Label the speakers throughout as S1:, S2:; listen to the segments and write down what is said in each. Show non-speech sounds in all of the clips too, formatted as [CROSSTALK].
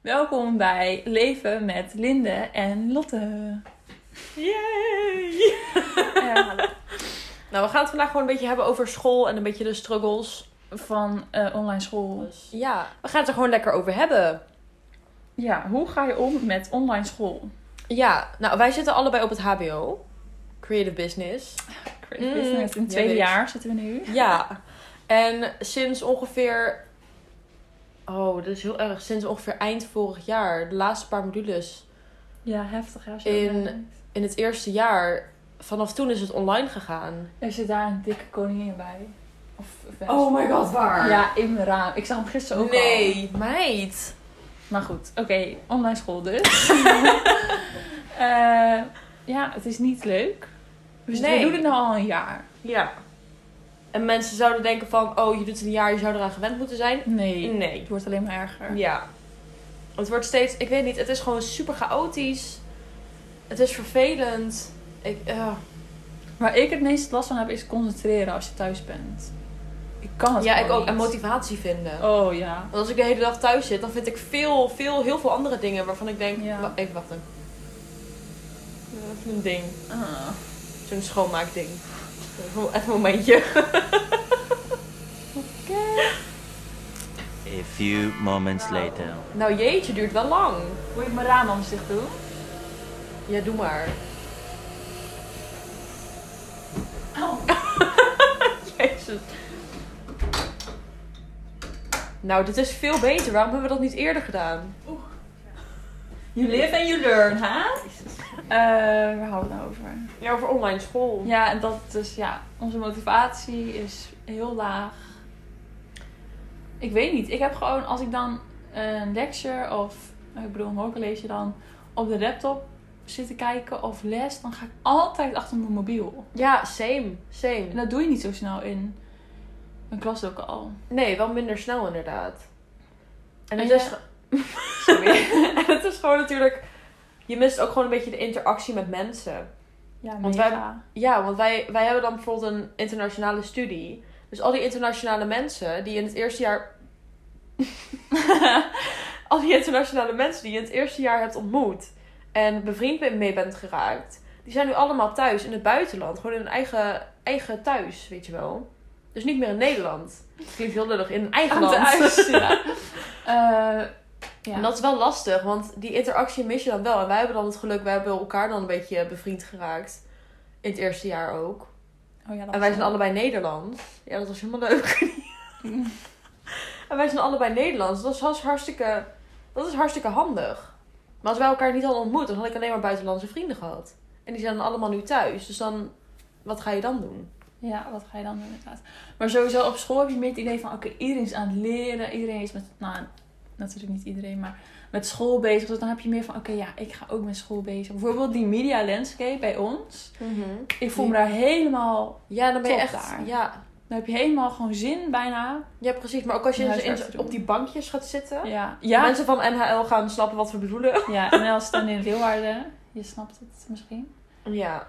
S1: Welkom bij Leven met Linde en Lotte.
S2: Yay! Nou, we gaan het vandaag gewoon een beetje hebben over school en een beetje de struggles.
S1: Van eh, online school.
S2: Dus. Ja, we gaan het er gewoon lekker over hebben.
S1: Ja, hoe ga je om met online school?
S2: Ja, nou, wij zitten allebei op het HBO. Creative Business.
S1: Creative
S2: Mm,
S1: business. In het
S2: ja,
S1: tweede
S2: weet ik.
S1: jaar zitten we nu.
S2: Ja. En sinds ongeveer... Oh, dat is heel erg. Sinds ongeveer eind vorig jaar, de laatste paar modules
S1: Ja, heftig. hè, Als je
S2: In-
S1: dat merkt.
S2: in het eerste jaar... Vanaf toen is het online gegaan.
S1: Er zit daar een dikke koningin bij. Of vest.
S2: Oh my god, waar?
S1: Ja, in mijn raam. Ik zag hem gisteren ook al.
S2: nee, meid.
S1: Maar goed, oké, online school
S2: [LAUGHS]
S1: dus. Eh, ja, het is niet leuk. We,
S2: Nee.
S1: we doen het nou al een jaar.
S2: Ja. En mensen zouden denken van, oh, je doet het een jaar, je zou eraan gewend moeten zijn.
S1: Nee,
S2: Nee.
S1: het wordt alleen maar erger.
S2: Ja. Het wordt steeds, ik weet niet, het is gewoon super chaotisch. Het is vervelend. Ik, eh,
S1: Waar ik het meest last van heb is concentreren als je thuis bent. Ik kan het
S2: ja, ik
S1: gewoon
S2: ook.
S1: niet.
S2: En motivatie vinden.
S1: Oh ja.
S2: Want als ik de hele dag thuis zit, dan vind ik veel, veel, heel veel andere dingen waarvan ik denk,
S1: Ja.
S2: wa- even wachten. Even een ding.
S1: Ah.
S2: Zo'n schoonmaakding. Even even een momentje. [LAUGHS]
S3: A few moments later.
S2: Nou jeetje, duurt wel lang.
S1: Moet je mijn raam anders dicht doen?
S2: Ja, doe maar.
S1: Oh. [LAUGHS]
S2: Jezus. Nou, dit is veel beter. Waarom hebben we dat niet eerder gedaan?
S1: You live and you learn, hè? Eh, waar houden we het nou over?
S2: Ja, over online school.
S1: Ja, en dat dus, ja, onze motivatie is heel laag. Ik weet niet. Ik heb gewoon, als ik dan een lecture of, eh, ik bedoel een hoorcollege dan, op de laptop zit te kijken of les, dan ga ik altijd achter mijn mobiel.
S2: Ja, same. Same.
S1: En dat doe je niet zo snel in een klas ook al.
S2: Nee, wel minder snel inderdaad.
S1: En
S2: En het
S1: je-
S2: is... ge- Sorry. [LAUGHS] en het is gewoon natuurlijk... Je mist ook gewoon een beetje de interactie met mensen.
S1: Ja,
S2: Want
S1: mega.
S2: Ja, want wij, wij hebben dan bijvoorbeeld een internationale studie. Dus al die internationale mensen die in het eerste jaar... [LAUGHS] al die internationale mensen die je in het eerste jaar hebt ontmoet... en bevriend mee bent geraakt... die zijn nu allemaal thuis in het buitenland. Gewoon in hun eigen, eigen thuis, weet je wel. Dus niet meer in Nederland. Klinkt heel lullig. In een eigen land. [LAUGHS]
S1: Thuis, ja. Eh, ja.
S2: En dat is wel lastig, want die interactie mis je dan wel. En wij hebben dan het geluk, wij hebben elkaar dan een beetje bevriend geraakt. In het eerste jaar ook.
S1: Oh ja, dat
S2: En wij
S1: is
S2: zijn allebei Nederlands. Ja, dat was helemaal leuk. [LAUGHS] en wij zijn allebei Nederlands. Dat was hartstikke, dat is hartstikke handig. Maar als wij elkaar niet hadden ontmoet, dan had ik alleen maar buitenlandse vrienden gehad. En die zijn dan allemaal nu thuis. Dus dan, wat ga je dan doen?
S1: Ja, wat ga je dan doen inderdaad. Maar sowieso op school heb je meer het idee van... Oké, iedereen is aan het leren. Iedereen is met... Nou, natuurlijk niet iedereen, maar met school bezig. Dus dan heb je meer van... Oké, ja, ik ga ook met school bezig. Bijvoorbeeld die media landscape bij ons. Ik voel me daar helemaal...
S2: Ja, dan ben je
S1: Mhm. Top
S2: echt...
S1: daar.
S2: Ja.
S1: Dan heb je helemaal gewoon zin bijna.
S2: ja, precies. Maar ook als je dus
S1: Om
S2: in-
S1: huiswerk
S2: in-
S1: te doen.
S2: op die bankjes gaat zitten.
S1: Ja, ja,
S2: Mensen van NHL gaan snappen wat we bedoelen. [LAUGHS]
S1: ja. en als het dan in Leeuwarden... Je snapt het misschien.
S2: Ja.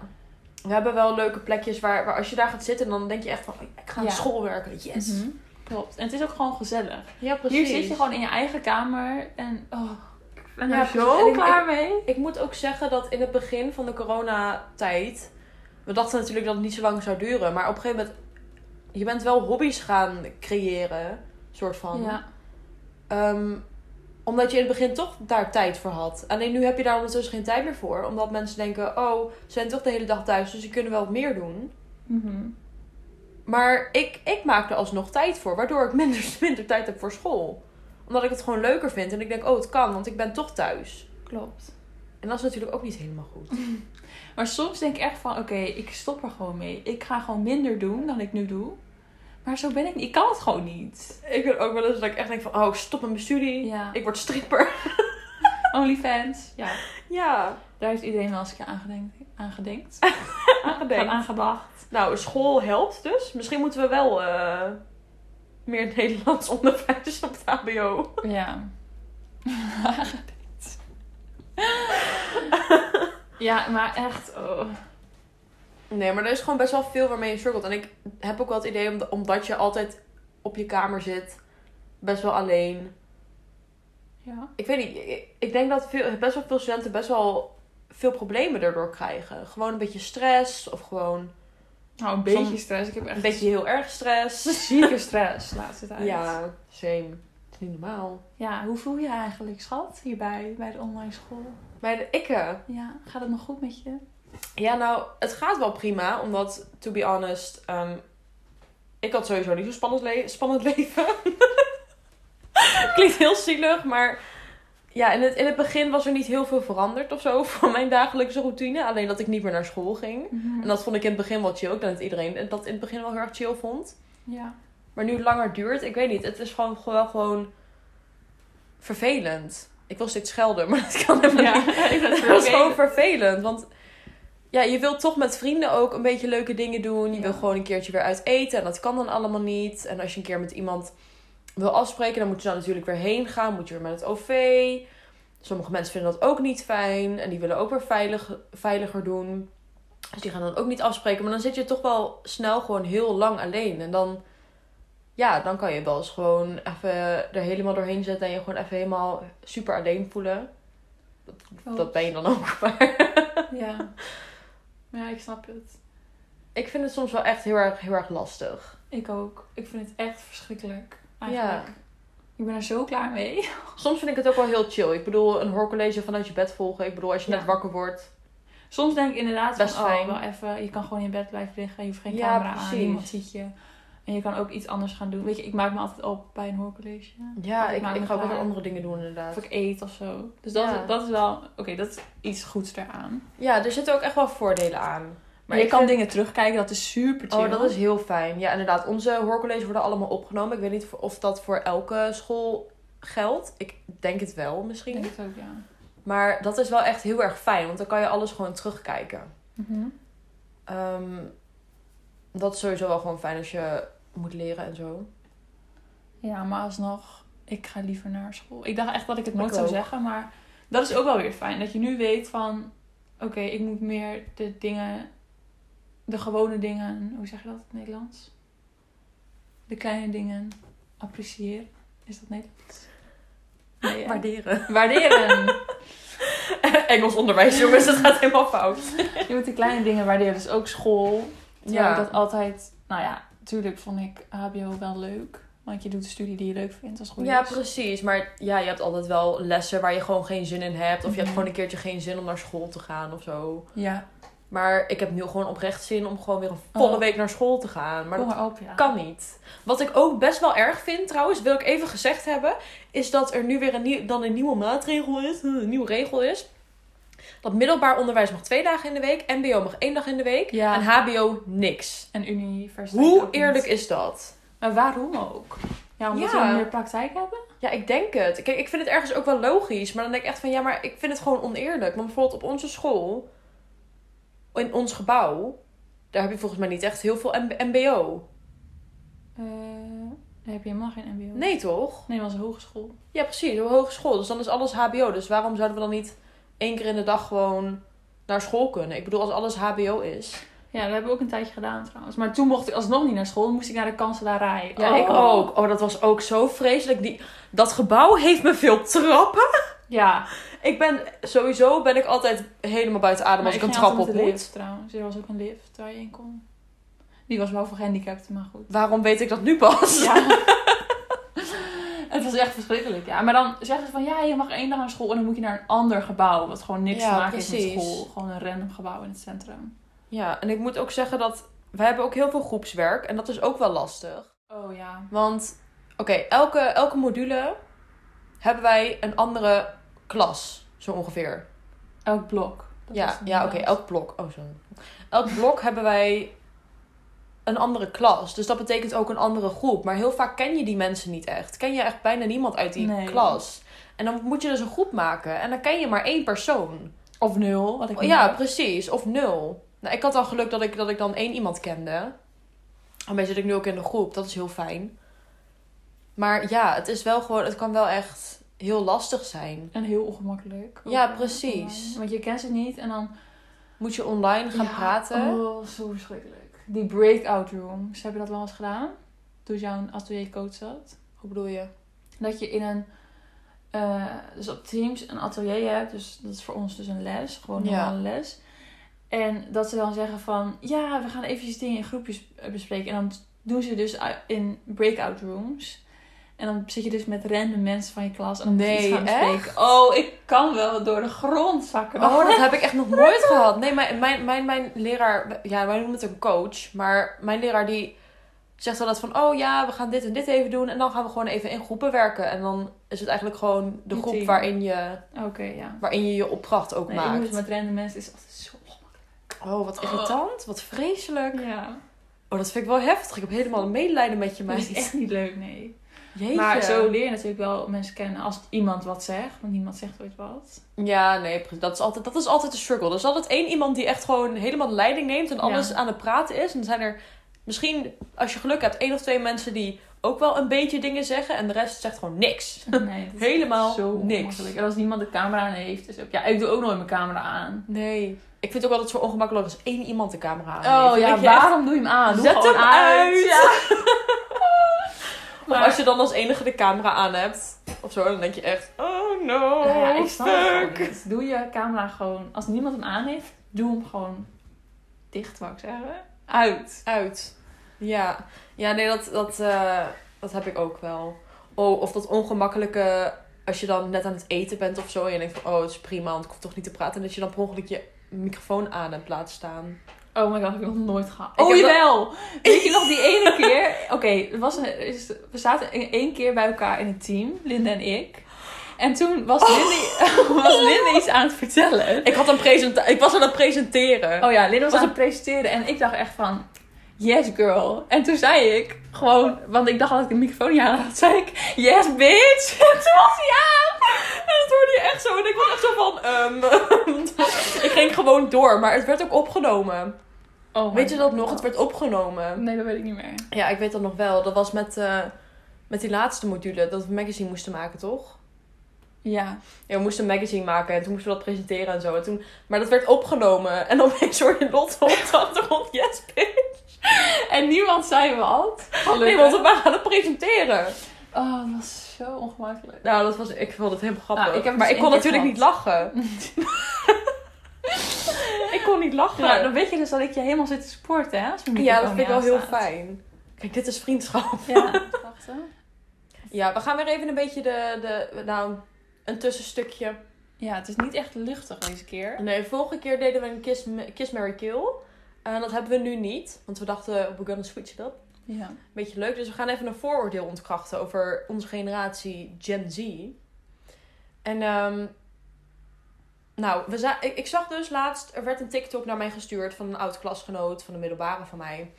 S2: We hebben wel leuke plekjes waar, waar als je daar gaat zitten, dan denk je echt van, oh, ik ga aan
S1: Ja.
S2: school werken. Yes.
S1: Mhm. Klopt. En het is ook gewoon gezellig.
S2: Ja,
S1: Hier zit je gewoon in je eigen kamer en oh, ik ben
S2: Ja,
S1: daar dus
S2: precies.
S1: zo
S2: En ik-
S1: klaar mee.
S2: Ik moet ook zeggen dat in het begin van de coronatijd, we dachten natuurlijk dat het niet zo lang zou duren, maar op een gegeven moment, je bent wel hobby's gaan creëren, soort van.
S1: Ja,
S2: Ehm, omdat je in het begin toch daar tijd voor had. Alleen nu heb je daar ondertussen geen tijd meer voor, omdat mensen denken, oh, ze zijn toch de hele dag thuis, dus ze kunnen wel wat meer doen.
S1: Mhm.
S2: Maar ik, ik maak er alsnog tijd voor, waardoor ik [LAUGHS] minder, minder tijd heb voor school. Omdat ik het gewoon leuker vind en ik denk, oh, het kan, want ik ben toch thuis.
S1: klopt.
S2: En dat is natuurlijk ook niet helemaal goed.
S1: Maar soms denk ik echt van, oké, ik stop er gewoon mee. Ik ga gewoon minder doen dan ik nu doe. Maar zo ben ik niet. Ik kan het gewoon niet.
S2: Ik ben ook wel eens dat ik echt denk van, oh, ik stop met mijn studie.
S1: Ja.
S2: Ik word stripper. [LAUGHS]
S1: Onlyfans. Ja,
S2: Ja,
S1: daar heeft iedereen wel eens een keer aangedenkt. aangedenkt. Aan
S2: aangedenkt.
S1: aangedacht.
S2: Nou, school helpt dus. Misschien moeten we wel eh, meer Nederlands [LAUGHS] onderwijs op het hbo.
S1: [LAUGHS] Ja. Aangedenkt. ja, maar echt. Oh.
S2: Nee, maar er is gewoon best wel veel waarmee je struggelt. En ik heb ook wel het idee, om- omdat je altijd op je kamer zit, best wel alleen...
S1: Ja.
S2: Ik weet niet, ik- ik denk dat veel, best wel veel studenten best wel veel problemen daardoor krijgen. Gewoon een beetje stress of gewoon
S1: Nou, een beetje
S2: Som-
S1: stress. Ik heb echt
S2: een beetje heel erg stress.
S1: zieke stress de laatste tijd.
S2: [LAUGHS] Ja, same. Het is niet normaal.
S1: Ja, hoe voel je je eigenlijk, schat, hierbij, bij de online school?
S2: Maar de ikke.
S1: Ja, gaat het nog goed met je?
S2: Ja, nou, het gaat wel prima. Omdat, to be honest, ehm, ik had sowieso niet zo'n spannend, le- spannend [LAUGHS] leven. Klinkt heel zielig, maar ja, in het, in het begin was er niet heel veel veranderd of zo [LAUGHS] van mijn dagelijkse routine. Alleen dat ik niet meer naar school ging.
S1: Mhm.
S2: En dat vond ik in het begin wel chill. Ik denk dat iedereen dat in het begin wel heel erg chill vond.
S1: Ja.
S2: Maar nu het langer duurt, ik weet niet. Het is gewoon, gewoon, gewoon vervelend. Ik wil steeds schelden, [LAUGHS] maar dat kan helemaal niet. Het was gewoon vervelend. Want ja, je wilt toch met vrienden ook een beetje leuke dingen doen. Je
S1: Ja.
S2: wil gewoon een keertje weer uit eten. En dat kan dan allemaal niet. En als je een keer met iemand wil afspreken, dan moet je dan natuurlijk weer heen gaan. Moet je weer met het OV. Sommige mensen vinden dat ook niet fijn. En die willen ook weer veilig, veiliger doen. Dus die gaan dan ook niet afspreken. Maar dan zit je toch wel snel gewoon heel lang alleen. En dan, ja, dan kan je wel eens gewoon even er helemaal doorheen zetten. En je gewoon even helemaal super alleen voelen.
S1: Oh,
S2: Dat ben je dan ook. [LAUGHS] Maar
S1: Ja. Ja, ik snap het.
S2: ik vind het soms wel echt heel erg, heel erg lastig.
S1: Ik ook. Ik vind het echt verschrikkelijk. Eigenlijk. Ik ben er zo klaar mee. [LAUGHS]
S2: Soms vind ik het ook wel heel chill. Ik bedoel, een hoorcollege vanuit je bed volgen. Ik bedoel, als je
S1: Ja.
S2: net wakker wordt.
S1: Soms denk ik inderdaad
S2: Best
S1: van, oh,
S2: fijn.
S1: wel even, je kan gewoon in bed blijven liggen. Je hoeft geen
S2: Ja,
S1: camera aan,
S2: precies.
S1: niemand ziet je. En je kan ook iets anders gaan doen. Weet je, ik maak me altijd op bij een hoorcollege.
S2: Ja,
S1: Of
S2: ik,
S1: maak
S2: ik
S1: me
S2: ga ook
S1: klaar.
S2: wel andere dingen doen inderdaad.
S1: Of ik eet of zo. Dus dat,
S2: Ja.
S1: dat is wel, oké, dat is iets goeds daaraan.
S2: Ja, er zitten ook echt wel voordelen aan.
S1: Maar je kan
S2: dingen
S1: dingen terugkijken, dat is super chill.
S2: Oh, dat is heel fijn. Ja, inderdaad. Onze hoorcolleges worden allemaal opgenomen. Ik weet niet of dat voor elke school geldt. Ik denk het wel
S1: Ik
S2: misschien.
S1: denk het ook, ja.
S2: Maar dat is wel echt heel erg fijn, want dan kan je alles gewoon terugkijken.
S1: Mhm.
S2: Ehm, dat is sowieso wel gewoon fijn als je moet leren en zo.
S1: Ja, maar alsnog, ik ga liever naar school. Ik dacht echt dat ik het nooit
S2: Ik
S1: zou
S2: ook.
S1: zeggen, maar dat is ook wel weer fijn. Dat je nu weet van, oké, ik moet meer de dingen, de gewone dingen, hoe zeg je dat in het Nederlands? De kleine dingen appreciëren. Is dat Nederlands? [LAUGHS] Nee, hè?
S2: Waarderen.
S1: waarderen.
S2: [LAUGHS] Engels onderwijs, jongens, dat gaat helemaal fout.
S1: Je moet de kleine dingen waarderen. Dus ook school. Terwijl
S2: Ja.
S1: ik dat altijd... Nou ja, natuurlijk vond ik HBO wel leuk. Want je doet de studie die je leuk vindt als het goed
S2: Ja,
S1: is.
S2: precies. Maar ja, je hebt altijd wel lessen waar je gewoon geen zin in hebt. Of je hebt
S1: Mhm.
S2: gewoon een keertje geen zin om naar school te gaan of zo.
S1: Ja,
S2: Maar ik heb nu gewoon oprecht zin om gewoon weer een volle
S1: Oh.
S2: week naar school te gaan. Maar
S1: kom
S2: dat
S1: maar op, ja.
S2: kan niet. Wat ik ook best wel erg vind trouwens, wil ik even gezegd hebben, is dat er nu weer een, nieuw, dan een nieuwe maatregel is, een nieuwe regel is. Dat middelbaar onderwijs mag twee dagen in de week, mbo mag één dag in de week
S1: Ja.
S2: en hbo niks.
S1: En universiteit ook
S2: Hoe
S1: niet.
S2: eerlijk is dat?
S1: Maar waarom ook? Ja, omdat
S2: Ja.
S1: we meer praktijk hebben?
S2: Ja, ik denk het. Kijk, ik vind het ergens ook wel logisch. Maar dan denk ik echt van, ja, maar ik vind het gewoon oneerlijk. Want bijvoorbeeld op onze school, in ons gebouw, daar heb je volgens mij niet echt heel veel mb- mbo.
S1: Eh, dan heb je helemaal geen mbo.
S2: Nee, toch?
S1: Nee, was een hogeschool.
S2: Ja, precies. Een hogeschool. Dus dan is alles HBO. Dus waarom zouden we dan niet één keer in de dag gewoon naar school kunnen? Ik bedoel, als alles HBO is.
S1: Ja, dat hebben we ook een tijdje gedaan trouwens. Maar toen mocht ik alsnog niet naar school. Dan moest ik naar de kanselarij.
S2: Ja,
S1: Oh.
S2: ik ook. Oh, dat was ook zo vreselijk. Die, dat gebouw heeft me veel trappen.
S1: Ja.
S2: Ik ben sowieso ben ik altijd helemaal buiten adem
S1: Maar
S2: als ik een
S1: ging altijd
S2: trap op
S1: met de
S2: moet.
S1: lift trouwens. Er was ook een lift waar je in kon. Die was wel voor gehandicapten, maar goed.
S2: Waarom weet ik dat nu pas?
S1: Ja. [LAUGHS] het was echt verschrikkelijk, ja. Maar dan zeggen ze van, ja, je mag één dag naar school en dan moet je naar een ander gebouw. Wat gewoon niks
S2: Ja,
S1: te maken heeft
S2: precies.
S1: met school. Gewoon een random gebouw in het centrum.
S2: Ja, en ik moet ook zeggen dat wij hebben ook heel veel groepswerk. En dat is ook wel lastig.
S1: Oh ja.
S2: Want, oké, elke, elke module hebben wij een andere klas, zo ongeveer.
S1: Elk blok. Dat was
S2: ja,
S1: het
S2: ja oké,
S1: inderdaad.
S2: elk blok. Oh, zo. Elk blok hebben wij een andere klas. Dus dat betekent ook een andere groep. Maar heel vaak ken je die mensen niet echt. Ken je echt bijna niemand uit die
S1: Nee.
S2: klas. En dan moet je dus een groep maken. En dan ken je maar één persoon.
S1: Of nul, wat ik
S2: Oh,
S1: niet
S2: ja,
S1: heb.
S2: precies. Of nul. Nou, ik had al geluk dat ik, dat ik dan één iemand kende. En mij zit ik nu ook in de groep. Dat is heel fijn. Maar ja, het is wel gewoon... Het kan wel echt heel lastig zijn.
S1: En heel ongemakkelijk.
S2: Ja,
S1: Ook, eh,
S2: precies.
S1: online. Want je kent ze niet en dan...
S2: Moet je online gaan
S1: Ja,
S2: praten.
S1: Oh, zo verschrikkelijk. Die breakout rooms. Heb je dat wel eens gedaan? Toen jouw ateliercoach zat?
S2: Hoe bedoel je?
S1: Dat je in een eh, eh, dus op Teams een atelier hebt. Dus dat is voor ons dus een les, gewoon een
S2: Ja.
S1: normale les. En dat ze dan zeggen van, ja, we gaan eventjes dingen in groepjes eh, bespreken. En dan doen ze dus uit- in breakout rooms. En dan zit je dus met random mensen van je klas. En dan moet je
S2: Nee,
S1: iets gaan bespreken. Oh, ik kan wel door de grond zakken.
S2: Oh,
S1: [LAUGHS]
S2: dat heb ik echt nog nooit gehad. Nee, mijn, mijn, mijn, mijn leraar, ja, wij noemen het een coach, maar mijn leraar die zegt altijd van, oh ja, we gaan dit en dit even doen en dan gaan we gewoon even in groepen werken. En dan is het eigenlijk gewoon de
S1: Je
S2: groep
S1: team.
S2: waarin je,
S1: Oké, ja.
S2: waarin je je opdracht ook
S1: Nee, ik
S2: maakt.
S1: moet met random mensen. is altijd zo ongemakkelijk.
S2: Oh, wat irritant, wat vreselijk.
S1: Ja.
S2: Oh, dat vind ik wel heftig. Ik heb helemaal een medelijden met je
S1: Maar
S2: meid.
S1: is echt niet leuk, nee.
S2: Jeetje.
S1: Maar zo leer je natuurlijk wel mensen kennen als iemand wat zegt. Want niemand zegt ooit wat.
S2: Ja, nee, precies. dat is, altijd, dat is altijd de struggle. Er is altijd één iemand die echt gewoon helemaal de leiding neemt en alles
S1: Ja.
S2: aan het praten is. En dan zijn er misschien, als je geluk hebt, één of twee mensen die ook wel een beetje dingen zeggen. En de rest zegt gewoon niks.
S1: Nee, dat is
S2: [LAUGHS] Helemaal
S1: zo
S2: niks.
S1: ongemakkelijk. En als niemand de camera aan heeft. Is ook... Ja, ik doe ook nooit mijn camera aan.
S2: Nee. Ik vind het ook altijd zo ongemakkelijk als één iemand de camera aan heeft.
S1: Oh
S2: Dan
S1: ja,
S2: denk Ah, je echt,
S1: waarom doe je hem aan? Doe
S2: Zet
S1: gewoon
S2: hem uit.
S1: Ja.
S2: Maar als je dan als enige de camera aan hebt, of zo, dan denk je echt, oh no,
S1: Nou ja, ik snap het gewoon
S2: fuck.
S1: niet. Doe je camera gewoon... Als niemand hem aan heeft, doe hem gewoon dicht, wou ik zeggen. Uit.
S2: uit. Ja, ja nee, dat, dat, eh, dat heb ik ook wel. Oh, of dat ongemakkelijke als je dan net aan het eten bent of zo. En je denkt van, oh, het is prima, want ik hoef toch niet te praten. En dat je dan per ongeluk je microfoon aan hebt laten staan.
S1: Oh my god, ik heb nog nooit gehad.
S2: Ik
S1: Oh
S2: heb dat-
S1: jawel! Weet je nog die ene keer? [LAUGHS] Oké, er was een- is- we zaten in- één keer bij elkaar in het team, Linda en ik. En toen was Linda, [LAUGHS] was Linda iets aan het vertellen.
S2: Oh. Ik, had een presenta- ik was aan het presenteren.
S1: Oh ja, Linda was,
S2: Was
S1: aan het presenteren en ik dacht echt van... Yes, girl. En toen zei ik gewoon... Want ik dacht dat ik de microfoon niet aan had. zei ik... Yes, bitch. [LAUGHS] En toen was hij aan.
S2: En dat hoorde je echt zo. En ik was echt zo [LAUGHS] van, ehm, [LAUGHS] ik ging gewoon door. Maar het werd ook opgenomen.
S1: Oh my
S2: Weet je dat
S1: God.
S2: nog? Het werd opgenomen.
S1: Nee, dat weet ik niet meer.
S2: Ja, ik weet dat nog wel. Dat was met, eh, met die laatste module. Dat we een magazine moesten maken, toch?
S1: Ja.
S2: Ja, we moesten een magazine maken en toen moesten we dat presenteren en zo. En toen, maar dat werd opgenomen. En opeens hoorde je Lotte op de achtergrond. Yes, bitch.
S1: En niemand zei wat.
S2: Nee,
S1: Gelukkig.
S2: want we waren aan het presenteren.
S1: Oh, dat was zo ongemakkelijk.
S2: Nou, dat was, ik vond het helemaal grappig.
S1: Nou, ik heb
S2: maar
S1: dus
S2: ik kon
S1: één keer
S2: natuurlijk niet lachen. ik kon niet lachen.
S1: Ja, dan weet je dus dat ik je helemaal zit te sporten, hè? als mijn
S2: Ja, dat
S1: microfoon
S2: vind ik wel
S1: niet
S2: heel
S1: aanstaat.
S2: fijn. Kijk, dit is vriendschap.
S1: [LAUGHS] Ja, wacht hè.
S2: Ja, we gaan weer even een beetje de, de nou, een tussenstukje.
S1: Ja, het is niet echt luchtig deze keer.
S2: Nee, vorige keer deden we een Kiss, kiss Mary Kill. En dat hebben we nu niet. Want we dachten, we're gonna switch it up.
S1: Ja.
S2: beetje leuk. Dus we gaan even een vooroordeel ontkrachten over onze generatie Gen Z. En ehm, nou, we za- ik, ik zag dus laatst, er werd een TikTok naar mij gestuurd van een oud klasgenoot van de middelbare van mij.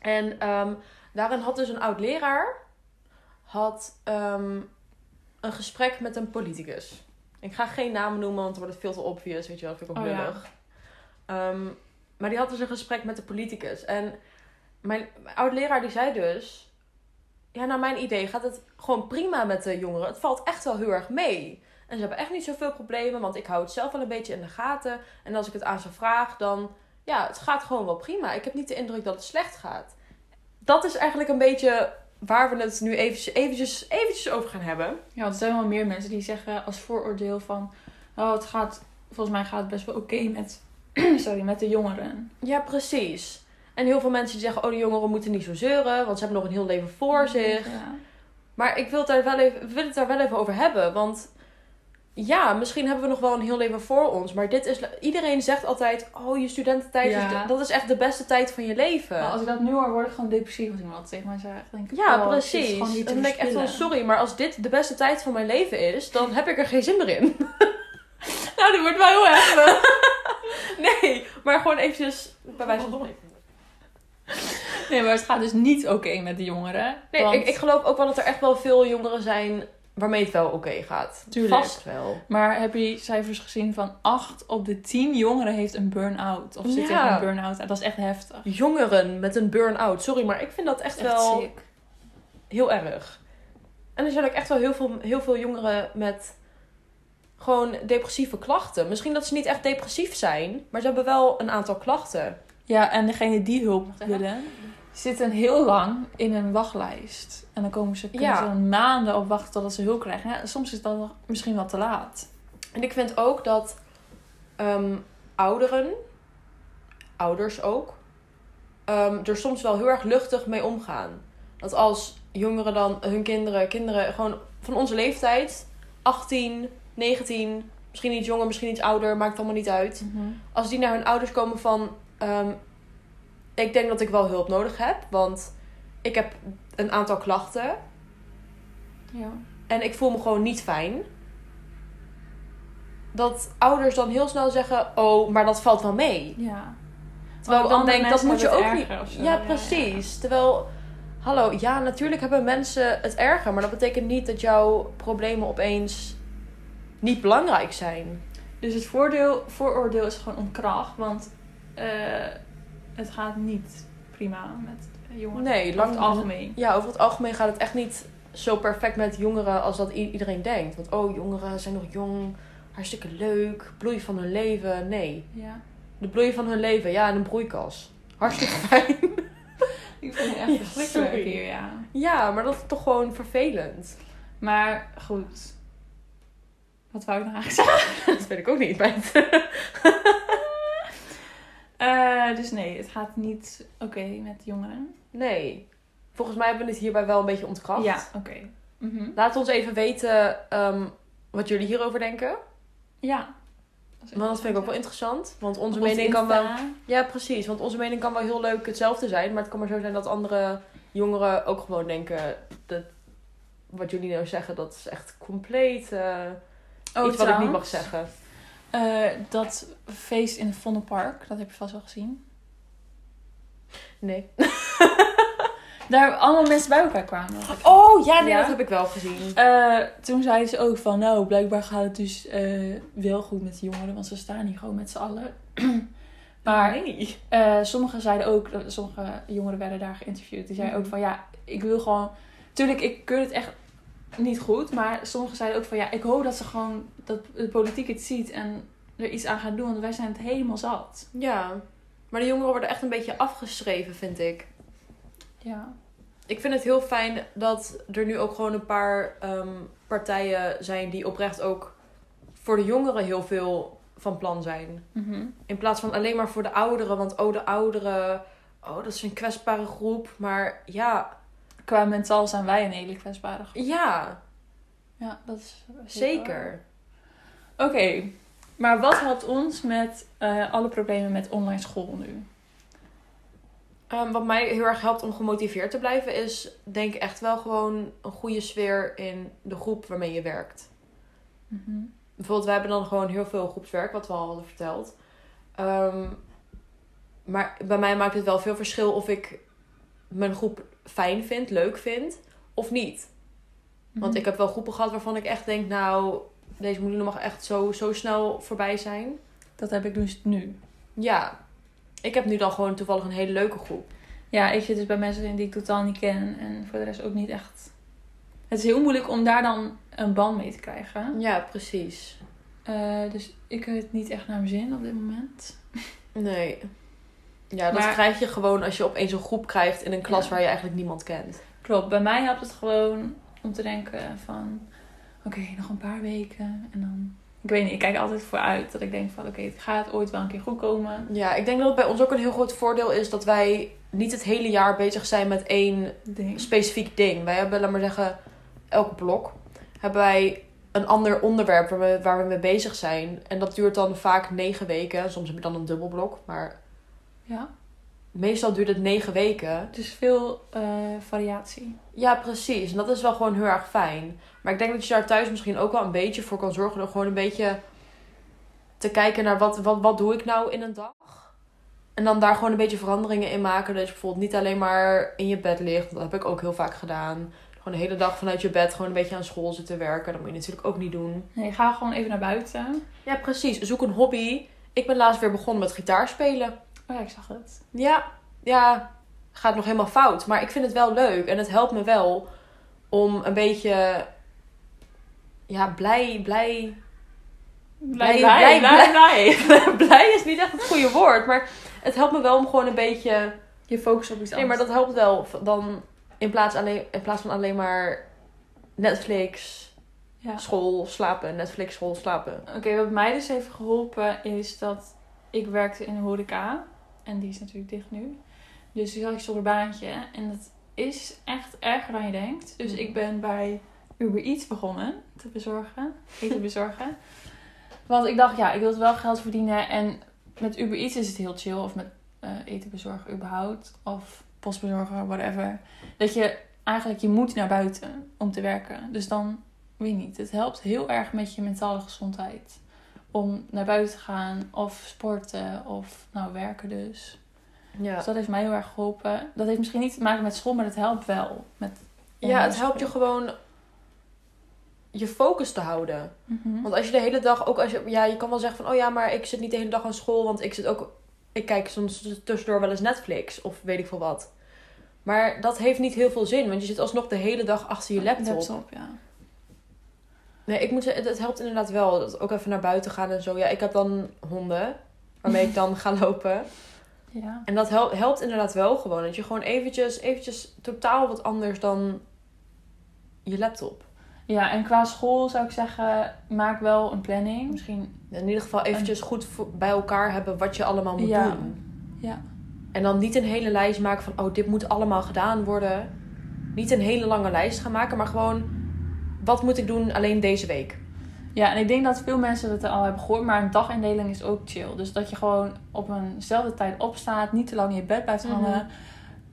S2: En ehm, daarin had dus een oud leraar had, ehm, een gesprek met een politicus. Ik ga geen namen noemen, want dan wordt het veel te obvious, weet je wel, dat vind ik
S1: Oh
S2: ook
S1: ja.
S2: lullig. Ehm, maar die had dus een gesprek met de politicus. En mijn, mijn oud-leraar die zei dus... Ja, naar mijn idee gaat het gewoon prima met de jongeren. Het valt echt wel heel erg mee. En ze hebben echt niet zoveel problemen, want ik hou het zelf wel een beetje in de gaten. En als ik het aan ze vraag, dan... Ja, het gaat gewoon wel prima. Ik heb niet de indruk dat het slecht gaat. Dat is eigenlijk een beetje waar we het nu eventjes, eventjes, eventjes over gaan hebben.
S1: ja, want er zijn wel meer mensen die zeggen als vooroordeel van... Oh, het gaat... Volgens mij gaat het best wel oké met... [CLEARS THROAT] sorry, met de jongeren.
S2: Ja, precies. En heel veel mensen die zeggen, oh, de jongeren moeten niet zo zeuren, want ze hebben nog een heel leven
S1: Mhm.
S2: voor zich.
S1: Ja.
S2: Maar ik wil het daar wel even, wil het daar wel even over hebben, want ja, misschien hebben we nog wel een heel leven voor ons, maar dit is, iedereen zegt altijd, oh, je studententijd,
S1: Ja.
S2: is, de- dat is echt de beste tijd van je leven.
S1: Maar als ik dat nu hoor, word ik gewoon depressief als iemand dat tegen mij zegt. Dan Denk ik,
S2: Ja,
S1: oh, het is
S2: precies.
S1: gewoon niet te
S2: Dan denk ik echt wel,
S1: verspillen.
S2: sorry, maar als dit de beste tijd van mijn leven is, dan heb ik er geen zin meer in. [LAUGHS]
S1: Nou, dat wordt wel heel heftig.
S2: Nee, maar gewoon eventjes bij wijze van spreken.
S1: [LAUGHS] nee, maar het gaat dus niet oké met de jongeren.
S2: Nee,
S1: want-
S2: ik, ik geloof ook wel dat er echt wel veel jongeren zijn waarmee het wel oké gaat.
S1: Tuurlijk.
S2: Vast wel.
S1: Maar heb je cijfers gezien van 8 op de 10 jongeren heeft een burn-out? Of zit
S2: Ja.
S1: tegen een burn-out? En dat is echt heftig.
S2: Jongeren met een burn-out. Sorry, maar ik vind dat echt,
S1: Echt
S2: wel
S1: sick.
S2: heel erg. En er zijn ook echt wel heel veel, heel veel jongeren met gewoon depressieve klachten. Misschien dat ze niet echt depressief zijn, maar ze hebben wel een aantal klachten.
S1: Ja, en degene die hulp willen, zitten heel lang in een wachtlijst. En dan komen ze, kunnen
S2: Ja.
S1: ze een maanden op wachten totdat ze hulp krijgen. Ja, soms is het dan nog misschien wel te laat.
S2: En ik vind ook dat ehm, ouderen, ouders ook, ehm, er soms wel heel erg luchtig mee omgaan. Dat als jongeren dan hun kinderen, kinderen gewoon van onze leeftijd, 18, 19, misschien iets jonger, misschien iets ouder, maakt allemaal niet uit.
S1: Mhm.
S2: als die naar hun ouders komen van... ehm, ik denk dat ik wel hulp nodig heb, want ik heb een aantal klachten
S1: Ja.
S2: en ik voel me gewoon niet fijn. Dat ouders dan heel snel zeggen, oh, maar dat valt wel mee.
S1: ja.
S2: Terwijl ik dan
S1: Oh, andere
S2: denk, dat
S1: mensen
S2: moet je
S1: hebben
S2: ook
S1: het
S2: niet...
S1: erger of zo.
S2: Ja, precies. Terwijl, hallo, ja, natuurlijk hebben mensen het erger, maar dat betekent niet dat jouw problemen opeens niet belangrijk zijn.
S1: Dus het voordeel, vooroordeel is gewoon onkracht, want eh, het gaat niet prima met jongeren.
S2: Nee,
S1: Over het
S2: lang,
S1: algemeen.
S2: Ja, over het algemeen gaat het echt niet zo perfect met jongeren als dat i- iedereen denkt. Want oh, jongeren zijn nog jong, hartstikke leuk, bloei van hun leven. Nee,
S1: Ja.
S2: de bloei van hun leven, ja, in een broeikas.
S1: [LAUGHS]
S2: Hartstikke fijn.
S1: Ik vind het
S2: Ja,
S1: echt verschrikkelijk
S2: sorry.
S1: hier, ja.
S2: Ja, maar dat is toch gewoon vervelend. [LAUGHS]
S1: Maar goed. Wat wou ik nou eigenlijk zeggen?
S2: Dat weet ik ook niet. Maar...
S1: [LAUGHS] Eh, dus nee, het gaat niet oké met jongeren.
S2: Nee, volgens mij hebben we het hierbij wel een beetje ontkracht.
S1: Ja, oké. Mhm.
S2: Laat ons even weten ehm, wat jullie hierover denken.
S1: Ja.
S2: Want dat vind ik ook wel interessant. Want onze
S1: Op ons
S2: mening kan wel...
S1: Insta.
S2: Ja, precies. Want onze mening kan wel heel leuk hetzelfde zijn. Maar het kan maar zo zijn dat andere jongeren ook gewoon denken... dat wat jullie nou zeggen, dat is echt compleet eh,
S1: Oh,
S2: iets wat ik niet mag
S1: trouwens,
S2: zeggen.
S1: eh, dat feest in het Vondelpark, dat heb je vast wel gezien.
S2: Nee.
S1: Daar allemaal mensen bij elkaar kwamen.
S2: Oh, ja, nee,
S1: Ja.
S2: dat heb ik wel gezien.
S1: Eh, toen zeiden ze ook van, nou, blijkbaar gaat het dus eh, wel goed met de jongeren, want ze staan hier gewoon met z'n allen. [CLEARS THROAT] maar
S2: nee.
S1: eh, sommigen zeiden ook, sommige jongeren werden daar geïnterviewd, die zeiden
S2: Mhm.
S1: ook van, ja, ik wil gewoon, tuurlijk, ik keur het echt niet goed, maar sommigen zeiden ook van, ja, ik hoop dat ze gewoon, dat de politiek het ziet en er iets aan gaat doen, want wij zijn het helemaal zat.
S2: Ja. Maar de jongeren worden echt een beetje afgeschreven, vind ik.
S1: Ja.
S2: Ik vind het heel fijn dat er nu ook gewoon een paar ehm, partijen zijn... die oprecht ook voor de jongeren heel veel van plan zijn. In plaats van alleen maar voor de ouderen. Want oh, de ouderen. Oh, dat is een kwetsbare groep. Maar ja,
S1: Qua mentaal zijn wij een hele kwetsbare groep.
S2: ja,
S1: Ja, dat is
S2: zeker.
S1: Oké, maar wat helpt ons met eh, alle problemen met online school nu?
S2: Ehm, wat mij heel erg helpt om gemotiveerd te blijven, is denk ik echt wel gewoon een goede sfeer in de groep waarmee je werkt.
S1: Mhm.
S2: Bijvoorbeeld, we hebben dan gewoon heel veel groepswerk, wat we al hadden verteld. Ehm, maar bij mij maakt het wel veel verschil of ik mijn groep fijn vind, leuk vind of niet.
S1: Mhm.
S2: Want ik heb wel groepen gehad waarvan ik echt denk, nou, deze moeder mag echt zo, zo snel voorbij zijn.
S1: Dat heb ik dus nu.
S2: Ja, ik heb nu dan gewoon toevallig een hele leuke groep.
S1: Ja, ik zit dus bij mensen in die ik totaal niet ken en voor de rest ook niet echt. Het is heel moeilijk om daar dan een band mee te krijgen.
S2: Ja, precies.
S1: Eh, dus ik heb het niet echt naar mijn zin op dit moment.
S2: Nee. Ja, dat
S1: Maar-
S2: krijg je gewoon als je opeens een groep krijgt in een klas
S1: Ja.
S2: waar je eigenlijk niemand kent.
S1: Klopt, bij mij helpt het gewoon om te denken van... Oké, nog een paar weken en dan... Ik weet niet, ik kijk altijd vooruit dat ik denk van... Oké, het gaat ooit wel een keer goed komen.
S2: Ja, ik denk dat het bij ons ook een heel groot voordeel is dat wij niet het hele jaar bezig zijn met één
S1: Ding.
S2: specifiek ding. Wij hebben, laat maar zeggen, elk blok hebben wij een ander onderwerp waar we, waar we mee bezig zijn. En dat duurt dan vaak negen weken. Soms heb je dan een dubbelblok, maar
S1: Ja,
S2: meestal duurt het negen weken.
S1: dus veel eh, variatie.
S2: Ja, precies. En dat is wel gewoon heel erg fijn. Maar ik denk dat je daar thuis misschien ook wel een beetje voor kan zorgen door gewoon een beetje te kijken naar wat, wat, wat doe ik nou in een dag. En dan daar gewoon een beetje veranderingen in maken. Dat je bijvoorbeeld niet alleen maar in je bed ligt. Dat heb ik ook heel vaak gedaan. Gewoon de hele dag vanuit je bed gewoon een beetje aan school zitten werken. Dat moet je natuurlijk ook niet doen.
S1: Nee, ga gewoon even naar buiten.
S2: Ja, precies. Zoek een hobby. Ik ben laatst weer begonnen met gitaarspelen.
S1: Oh ja, ik zag het.
S2: Ja, ja, gaat nog helemaal fout. Maar ik vind het wel leuk en het helpt me wel om een beetje ja, blij, blij, [LAUGHS]
S1: Blij,
S2: blij, blij. blij is niet echt het goede woord, maar het helpt me wel om gewoon een beetje
S1: Je focust op iets anders.
S2: Nee, maar dat helpt wel. V- Dan in plaats, alleen, in plaats van alleen maar Netflix,
S1: Ja.
S2: school, slapen, Netflix, school, slapen.
S1: Oké, wat mij dus heeft geholpen is dat ik werkte in de horeca. En die is natuurlijk dicht nu. Dus toen had ik zonder baantje. En dat is echt erger dan je denkt. Dus
S2: Mhm.
S1: ik ben bij Uber Eats begonnen te bezorgen. Eten bezorgen. Want ik dacht, ja, ik wil wel geld verdienen. En met Uber Eats is het heel chill. Of met eh, eten bezorgen überhaupt. Of postbezorger, whatever. Dat je eigenlijk, je moet naar buiten om te werken. Dus dan, weet niet, het helpt heel erg met je mentale gezondheid. Om naar buiten te gaan of sporten of nou werken dus.
S2: Ja.
S1: Dus dat heeft mij heel erg geholpen. Dat heeft misschien niet te maken met school, maar dat helpt wel. Met
S2: Ja, het helpt je gewoon je focus te houden.
S1: Mhm.
S2: Want als je de hele dag ook als je ja, je kan wel zeggen van oh ja, maar ik zit niet de hele dag aan school, want ik zit ook ik kijk soms tussendoor wel eens Netflix of weet ik veel wat. Maar dat heeft niet heel veel zin, want je zit alsnog de hele dag achter je laptop.
S1: ja.
S2: Nee, ik moet zeggen, het, het helpt inderdaad wel. Dat ook even naar buiten gaan en zo. Ja, ik heb dan honden waarmee ik dan ga lopen.
S1: Ja.
S2: En dat helpt, helpt inderdaad wel gewoon. Dat je gewoon eventjes, eventjes totaal wat anders dan je laptop.
S1: ja, en qua school zou ik zeggen, maak wel een planning. Misschien,
S2: In ieder geval eventjes goed voor- bij elkaar hebben wat je allemaal moet
S1: Ja.
S2: doen.
S1: ja.
S2: En dan niet een hele lijst maken van, oh, dit moet allemaal gedaan worden. Niet een hele lange lijst gaan maken, maar gewoon, wat moet ik doen alleen deze week?
S1: Ja, en ik denk dat veel mensen dat al hebben gehoord, maar een dagindeling is ook chill. Dus dat je gewoon op eenzelfde tijd opstaat, niet te lang in je bed blijft hangen,
S2: Mhm.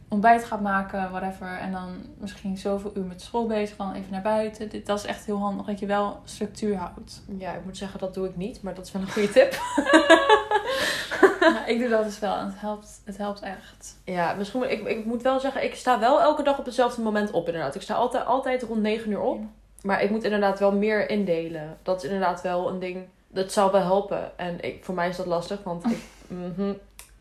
S1: ontbijt gaat maken, whatever. En dan misschien zoveel uur met school bezig, dan even naar buiten. Dit, dat is echt heel handig, dat je wel structuur
S2: [LAUGHS]
S1: houdt.
S2: Ja, ik moet zeggen, dat doe ik niet, maar dat is wel een goede tip.
S1: Ja, ik doe dat dus wel en het helpt, het helpt echt.
S2: [LAUGHS] Ja, misschien, moet- ik, ik moet wel zeggen, ik sta wel elke dag op hetzelfde moment op inderdaad. Ik sta altijd, altijd rond 9 uur op. Maar ik moet inderdaad wel meer indelen. Dat is inderdaad wel een ding, dat zou wel helpen. En ik, voor mij is dat lastig, want
S1: [LAUGHS]
S2: ik, mhm,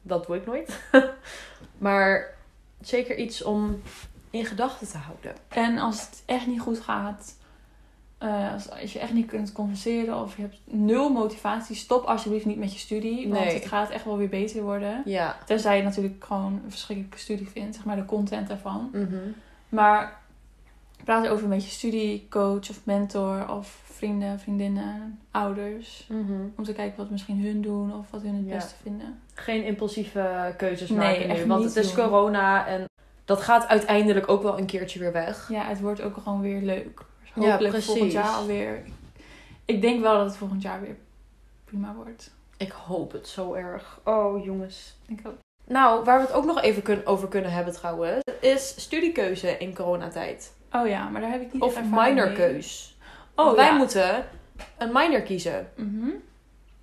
S2: dat doe ik nooit. [LAUGHS] maar zeker iets om in gedachten te houden.
S1: En als het echt niet goed gaat, eh, als, als je echt niet kunt compenseren of je hebt nul motivatie, stop alsjeblieft niet met je studie, want
S2: Nee.
S1: het gaat echt wel weer beter worden.
S2: Ja.
S1: Tenzij je natuurlijk gewoon een verschrikkelijke studie vindt, zeg maar de content daarvan.
S2: mhm,
S1: Maar praat over met je studiecoach of mentor of vrienden, vriendinnen, ouders.
S2: mhm.
S1: Om te kijken wat misschien hun doen of wat hun het
S2: Ja.
S1: beste vinden.
S2: Geen impulsieve keuzes
S1: Nee,
S2: maken nu,
S1: echt
S2: want
S1: niet
S2: het is
S1: doen.
S2: corona en dat gaat uiteindelijk ook wel een keertje weer weg.
S1: Ja, het wordt ook gewoon weer leuk. Dus
S2: Ja,
S1: Hopelijk
S2: precies.
S1: volgend jaar alweer. Ik denk wel dat het volgend jaar weer prima wordt.
S2: Ik hoop het zo erg. Oh, jongens.
S1: Ik ook.
S2: Nou, waar we het ook nog even kun- over kunnen hebben trouwens, is studiekeuze in coronatijd.
S1: Oh ja, maar daar heb ik niet
S2: Of
S1: echt ervaring mee.
S2: minorkeus.
S1: Oh,
S2: Oh, wij
S1: ja.
S2: moeten een minor kiezen.
S1: Mhm.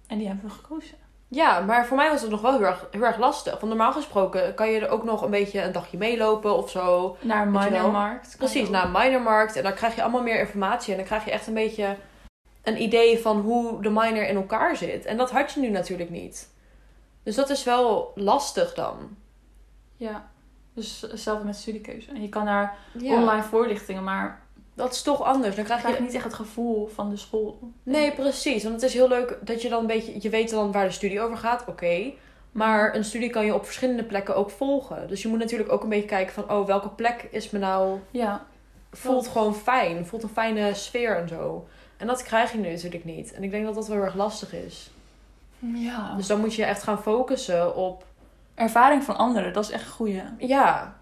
S1: En die hebben we gekozen.
S2: Ja, maar voor mij was het nog wel heel erg, heel erg lastig. Want normaal gesproken kan je er ook nog een beetje een dagje meelopen of zo.
S1: Naar
S2: Weet je wel?
S1: Minormarkt. kan
S2: Precies, nou.
S1: ook.
S2: naar een minormarkt. En dan krijg je allemaal meer informatie. En dan krijg je echt een beetje een idee van hoe de minor in elkaar zit. En dat had je nu natuurlijk niet. Dus dat is wel lastig dan.
S1: Ja. Dus hetzelfde met studiekeuze. En je kan naar
S2: Ja,
S1: online voorlichtingen, maar
S2: Dat is toch anders. Dan
S1: ik
S2: krijg
S1: krijg
S2: je...
S1: niet echt het gevoel van de school.
S2: Nee, precies. Want het is heel leuk dat je dan een beetje... Je weet dan waar de studie over gaat, oké. Maar een studie kan je op verschillende plekken ook volgen. Dus je moet natuurlijk ook een beetje kijken van... Oh, welke plek is me nou...
S1: Ja,
S2: Voelt
S1: Klopt.
S2: gewoon fijn. Voelt een fijne sfeer en zo. En dat krijg je nu natuurlijk niet. En ik denk dat dat wel heel erg lastig is.
S1: ja.
S2: Dus dan moet je echt gaan focussen op.
S1: ervaring van anderen, dat is echt een goeie.
S2: Ja,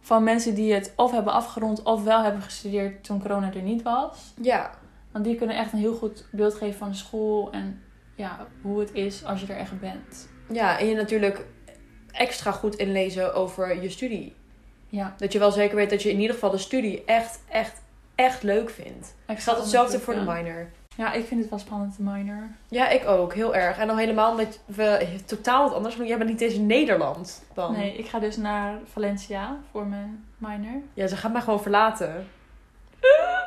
S1: Van mensen die het of hebben afgerond of wel hebben gestudeerd toen corona er niet was.
S2: ja,
S1: Want die kunnen echt een heel goed beeld geven van de school en ja, hoe het is als je er echt bent.
S2: ja. En je natuurlijk extra goed inlezen over je studie.
S1: Ja,
S2: Dat je wel zeker weet dat je in ieder geval de studie echt, echt, echt leuk vindt.
S1: ik
S2: Ik had hetzelfde voor de
S1: ja.
S2: minor.
S1: Ja, ik vind het wel spannend, de minor.
S2: Ja, ik ook, heel erg. En dan helemaal omdat we totaal wat anders doen. Jij bent niet eens in Nederland dan.
S1: Nee, ik ga dus naar Valencia voor mijn minor.
S2: Ja, ze gaat mij gewoon verlaten.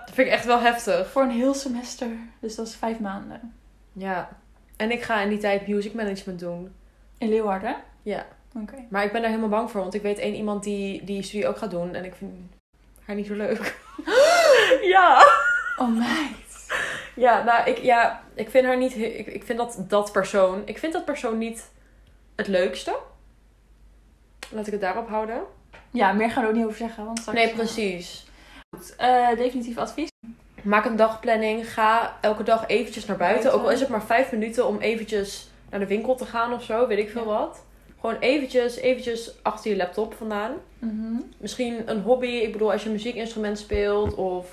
S2: Dat vind ik echt wel heftig.
S1: Voor een heel semester, dus dat is vijf maanden.
S2: Ja. En ik ga in die tijd music management doen.
S1: In Leeuwarden?
S2: Ja.
S1: Oké.
S2: Maar ik ben daar helemaal bang voor, want ik weet één iemand die die studie ook gaat doen en ik vind haar niet zo leuk. ja.
S1: Oh meid.
S2: Ja, nou, ik, ja, ik vind haar niet. he- Ik, ik vind dat, dat persoon. Ik vind dat persoon niet het leukste. Laat ik het daarop houden.
S1: Ja, meer gaan we er ook niet over zeggen. Want straks-
S2: Nee, precies.
S1: Goed, eh, definitief advies.
S2: Maak een dagplanning. Ga elke dag eventjes naar buiten.
S1: Buiten.
S2: Ook al is het maar vijf minuten om eventjes naar de winkel te gaan of zo. Weet ik veel
S1: Ja.
S2: wat. Gewoon eventjes, eventjes achter je laptop vandaan.
S1: Mhm.
S2: Misschien een hobby. Ik bedoel, als je een muziekinstrument speelt. Of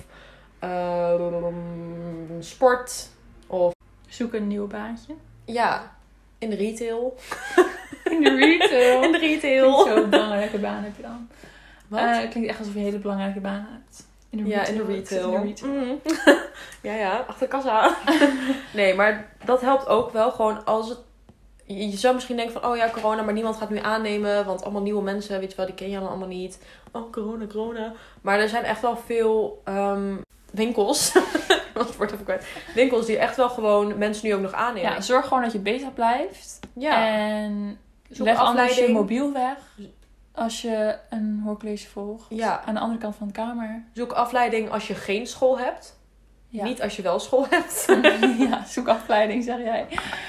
S2: ehm, sport. Of
S1: Zoek een nieuw
S2: [LAUGHS]
S1: baantje.
S2: ja, in de retail.
S1: In de retail.
S2: In de
S1: Klinkt
S2: [LAUGHS] retail.
S1: Zo'n belangrijke baan heb je dan.
S2: Wat?
S1: Eh, het klinkt echt alsof je een hele belangrijke baan hebt. In de
S2: Ja, in de
S1: retail. Ik zit
S2: retail.
S1: in de retail.
S2: Mm. [LAUGHS] ja, ja, achter kassa. nee, maar dat helpt ook wel gewoon als het... Je je zou misschien denken van, oh ja, corona, maar niemand gaat nu aannemen. Want allemaal nieuwe mensen, weet je wel, die ken je dan allemaal niet. Oh, corona, corona. Maar er zijn echt wel veel ehm, winkels. [LAUGHS] Want het wordt even kwijt. Winkels die echt wel gewoon mensen nu ook nog
S1: Ja, eh,
S2: aannemen.
S1: zorg gewoon dat je bezig blijft.
S2: Ja,
S1: En
S2: zoek
S1: leg anders je
S2: Dus afleiding. Dus-
S1: mobiel weg. Als je een hoorcollege volgt.
S2: Ja.
S1: Aan de andere kant van de kamer.
S2: zoek afleiding als je geen school hebt.
S1: Ja.
S2: Niet als je wel school hebt.
S1: [LAUGHS] ja, zoek afleiding, zeg jij.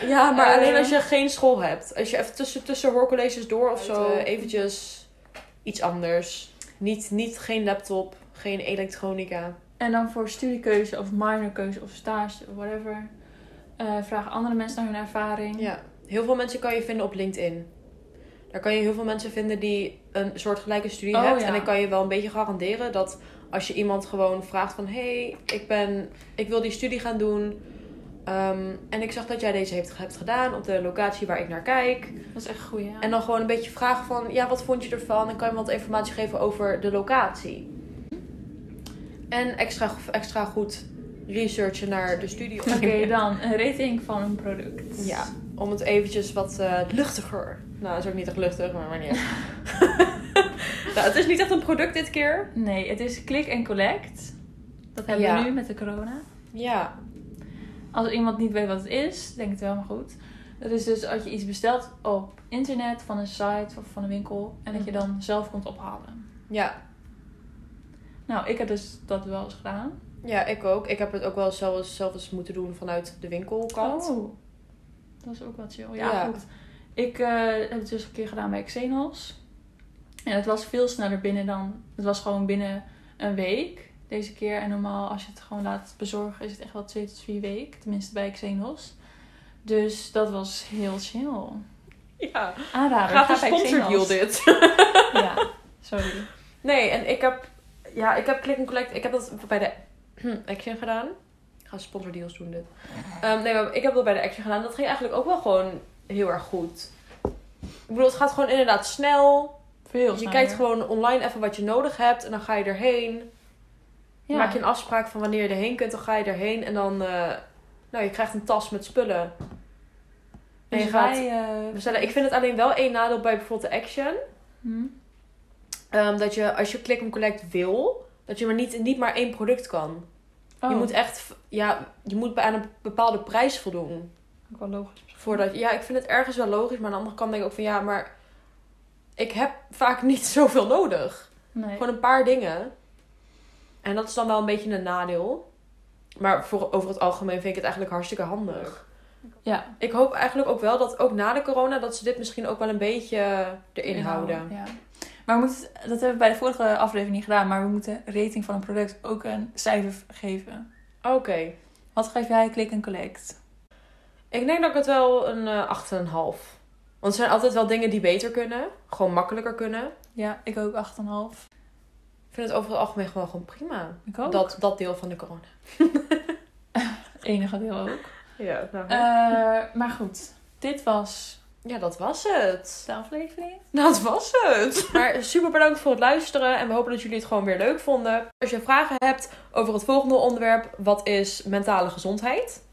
S2: Ja, maar
S1: Eh,
S2: alleen als je geen school hebt. Als je even tussen, tussen hoorcolleges door of zo,
S1: Buiten.
S2: eventjes iets anders. Niet, niet geen laptop, geen elektronica.
S1: En dan voor studiekeuze of minorkeuze of stage of whatever. eh, vraag andere mensen naar hun ervaring.
S2: Ja. Heel veel mensen kan je vinden op LinkedIn. Daar kan je heel veel mensen vinden die een soort gelijke studie
S1: Oh,
S2: hebt.
S1: ja.
S2: En dan kan je wel een beetje garanderen dat als je iemand gewoon vraagt van... Hé, hey, ik, ben- ik wil die studie gaan doen. ehm, en ik zag dat jij deze heeft, hebt gedaan op de locatie waar ik naar kijk.
S1: Dat is echt goed, ja.
S2: En dan gewoon een beetje vragen van, ja, wat vond je ervan? En kan je wat informatie geven over de locatie? En extra, extra goed researchen naar de studio.
S1: Oké,
S2: [LAUGHS]
S1: dan een rating van een product. [LAUGHS]
S2: Ja, om het eventjes wat eh, luchtiger. Nou, dat is ook niet echt luchtig, maar wanneer. [LAUGHS] nou, het is niet echt een product dit keer.
S1: Nee, het is click en collect. Dat hebben
S2: Ja.
S1: we nu met de corona.
S2: Ja,
S1: Als iemand niet weet wat het is, denk het wel maar goed. Dat is dus dat je iets bestelt op internet, van een site of van een winkel. En dat je dan zelf komt ophalen.
S2: ja.
S1: Nou, ik heb dus dat wel eens gedaan.
S2: Ja, ik ook. Ik heb het ook wel zelf eens, zelf eens moeten doen vanuit de winkelkant.
S1: Oh, dat is ook wat chill. Ja,
S2: Ja.
S1: goed. Ik eh, heb het dus een keer gedaan bij Xenos. En het was veel sneller binnen dan... Het was gewoon binnen een week deze keer. En normaal als je het gewoon laat bezorgen is het echt wel twee tot vier weken. Tenminste bij Xenos. Dus dat was heel chill.
S2: Ja,
S1: Aanrader.
S2: gaat een
S1: ga bij
S2: sponsordeal
S1: [LAUGHS] Xenos.
S2: dit.
S1: Ja, sorry.
S2: Nee, en ik heb... Ja, ik heb Click and Collect... Ik heb dat bij de [CLEARS THROAT] Action gedaan. Ik ga sponsordeals doen dit. Ehm, nee, maar ik heb dat bij de Action gedaan. Dat ging eigenlijk ook wel gewoon heel erg goed. Ik bedoel, het gaat gewoon inderdaad snel.
S1: Veel
S2: Je
S1: sneller.
S2: kijkt gewoon online even wat je nodig hebt. En dan ga je erheen.
S1: Ja.
S2: Maak je een afspraak van wanneer je erheen kunt. Dan ga je erheen. En dan... eh, nou, je krijgt een tas met spullen. En je
S1: Dus
S2: gaat
S1: wij, eh,
S2: bestellen. Ik vind het alleen wel één nadeel bij bijvoorbeeld de Action.
S1: hm?
S2: Ehm, dat je als je click and collect wil, dat je maar niet, niet maar één product kan.
S1: Oh,
S2: Je moet echt, v- ja, je moet bij- aan een bepaalde prijs voldoen.
S1: ook wel logisch.
S2: Voordat, ja, ik vind het ergens wel logisch, maar aan de andere kant denk ik ook van ja, maar ik heb vaak niet [LAUGHS] zoveel nodig.
S1: Nee.
S2: Gewoon een paar dingen. En dat is dan wel een beetje een nadeel. Maar voor, over het algemeen vind ik het eigenlijk hartstikke handig.
S1: Ja.
S2: Ik hoop eigenlijk ook wel dat ook na de corona, dat ze dit misschien ook wel een beetje erin houden.
S1: Ja. Maar we moeten, dat hebben we bij de vorige aflevering niet gedaan, maar we moeten rating van een product ook een cijfer geven.
S2: Oké.
S1: Wat geef jij click en collect?
S2: Ik denk dat ik het wel een eh 8,5. Want er zijn altijd wel dingen die beter kunnen. Gewoon makkelijker kunnen.
S1: Ja, ik ook 8,5.
S2: Ik vind het over het algemeen gewoon, gewoon prima.
S1: Ik ook.
S2: Dat, dat deel van de corona.
S1: enige deel ook.
S2: Ja, nou.
S1: Eh, maar goed, dit was
S2: ja, dat was het. [LAUGHS]
S1: de aflevering.
S2: Dat was het. Maar super bedankt voor het luisteren. En we hopen dat jullie het gewoon weer leuk vonden. Als je vragen hebt over het volgende onderwerp. Wat is mentale gezondheid?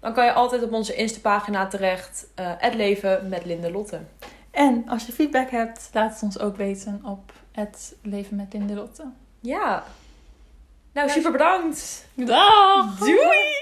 S2: Dan kan je altijd op onze Insta-pagina terecht. eh, Het leven met Linde Lotte.
S1: En als je feedback hebt, laat het ons ook weten op het leven met Lindelotte. 啊
S2: Ja. Nou, super bedankt.
S1: Dag!
S2: Doei!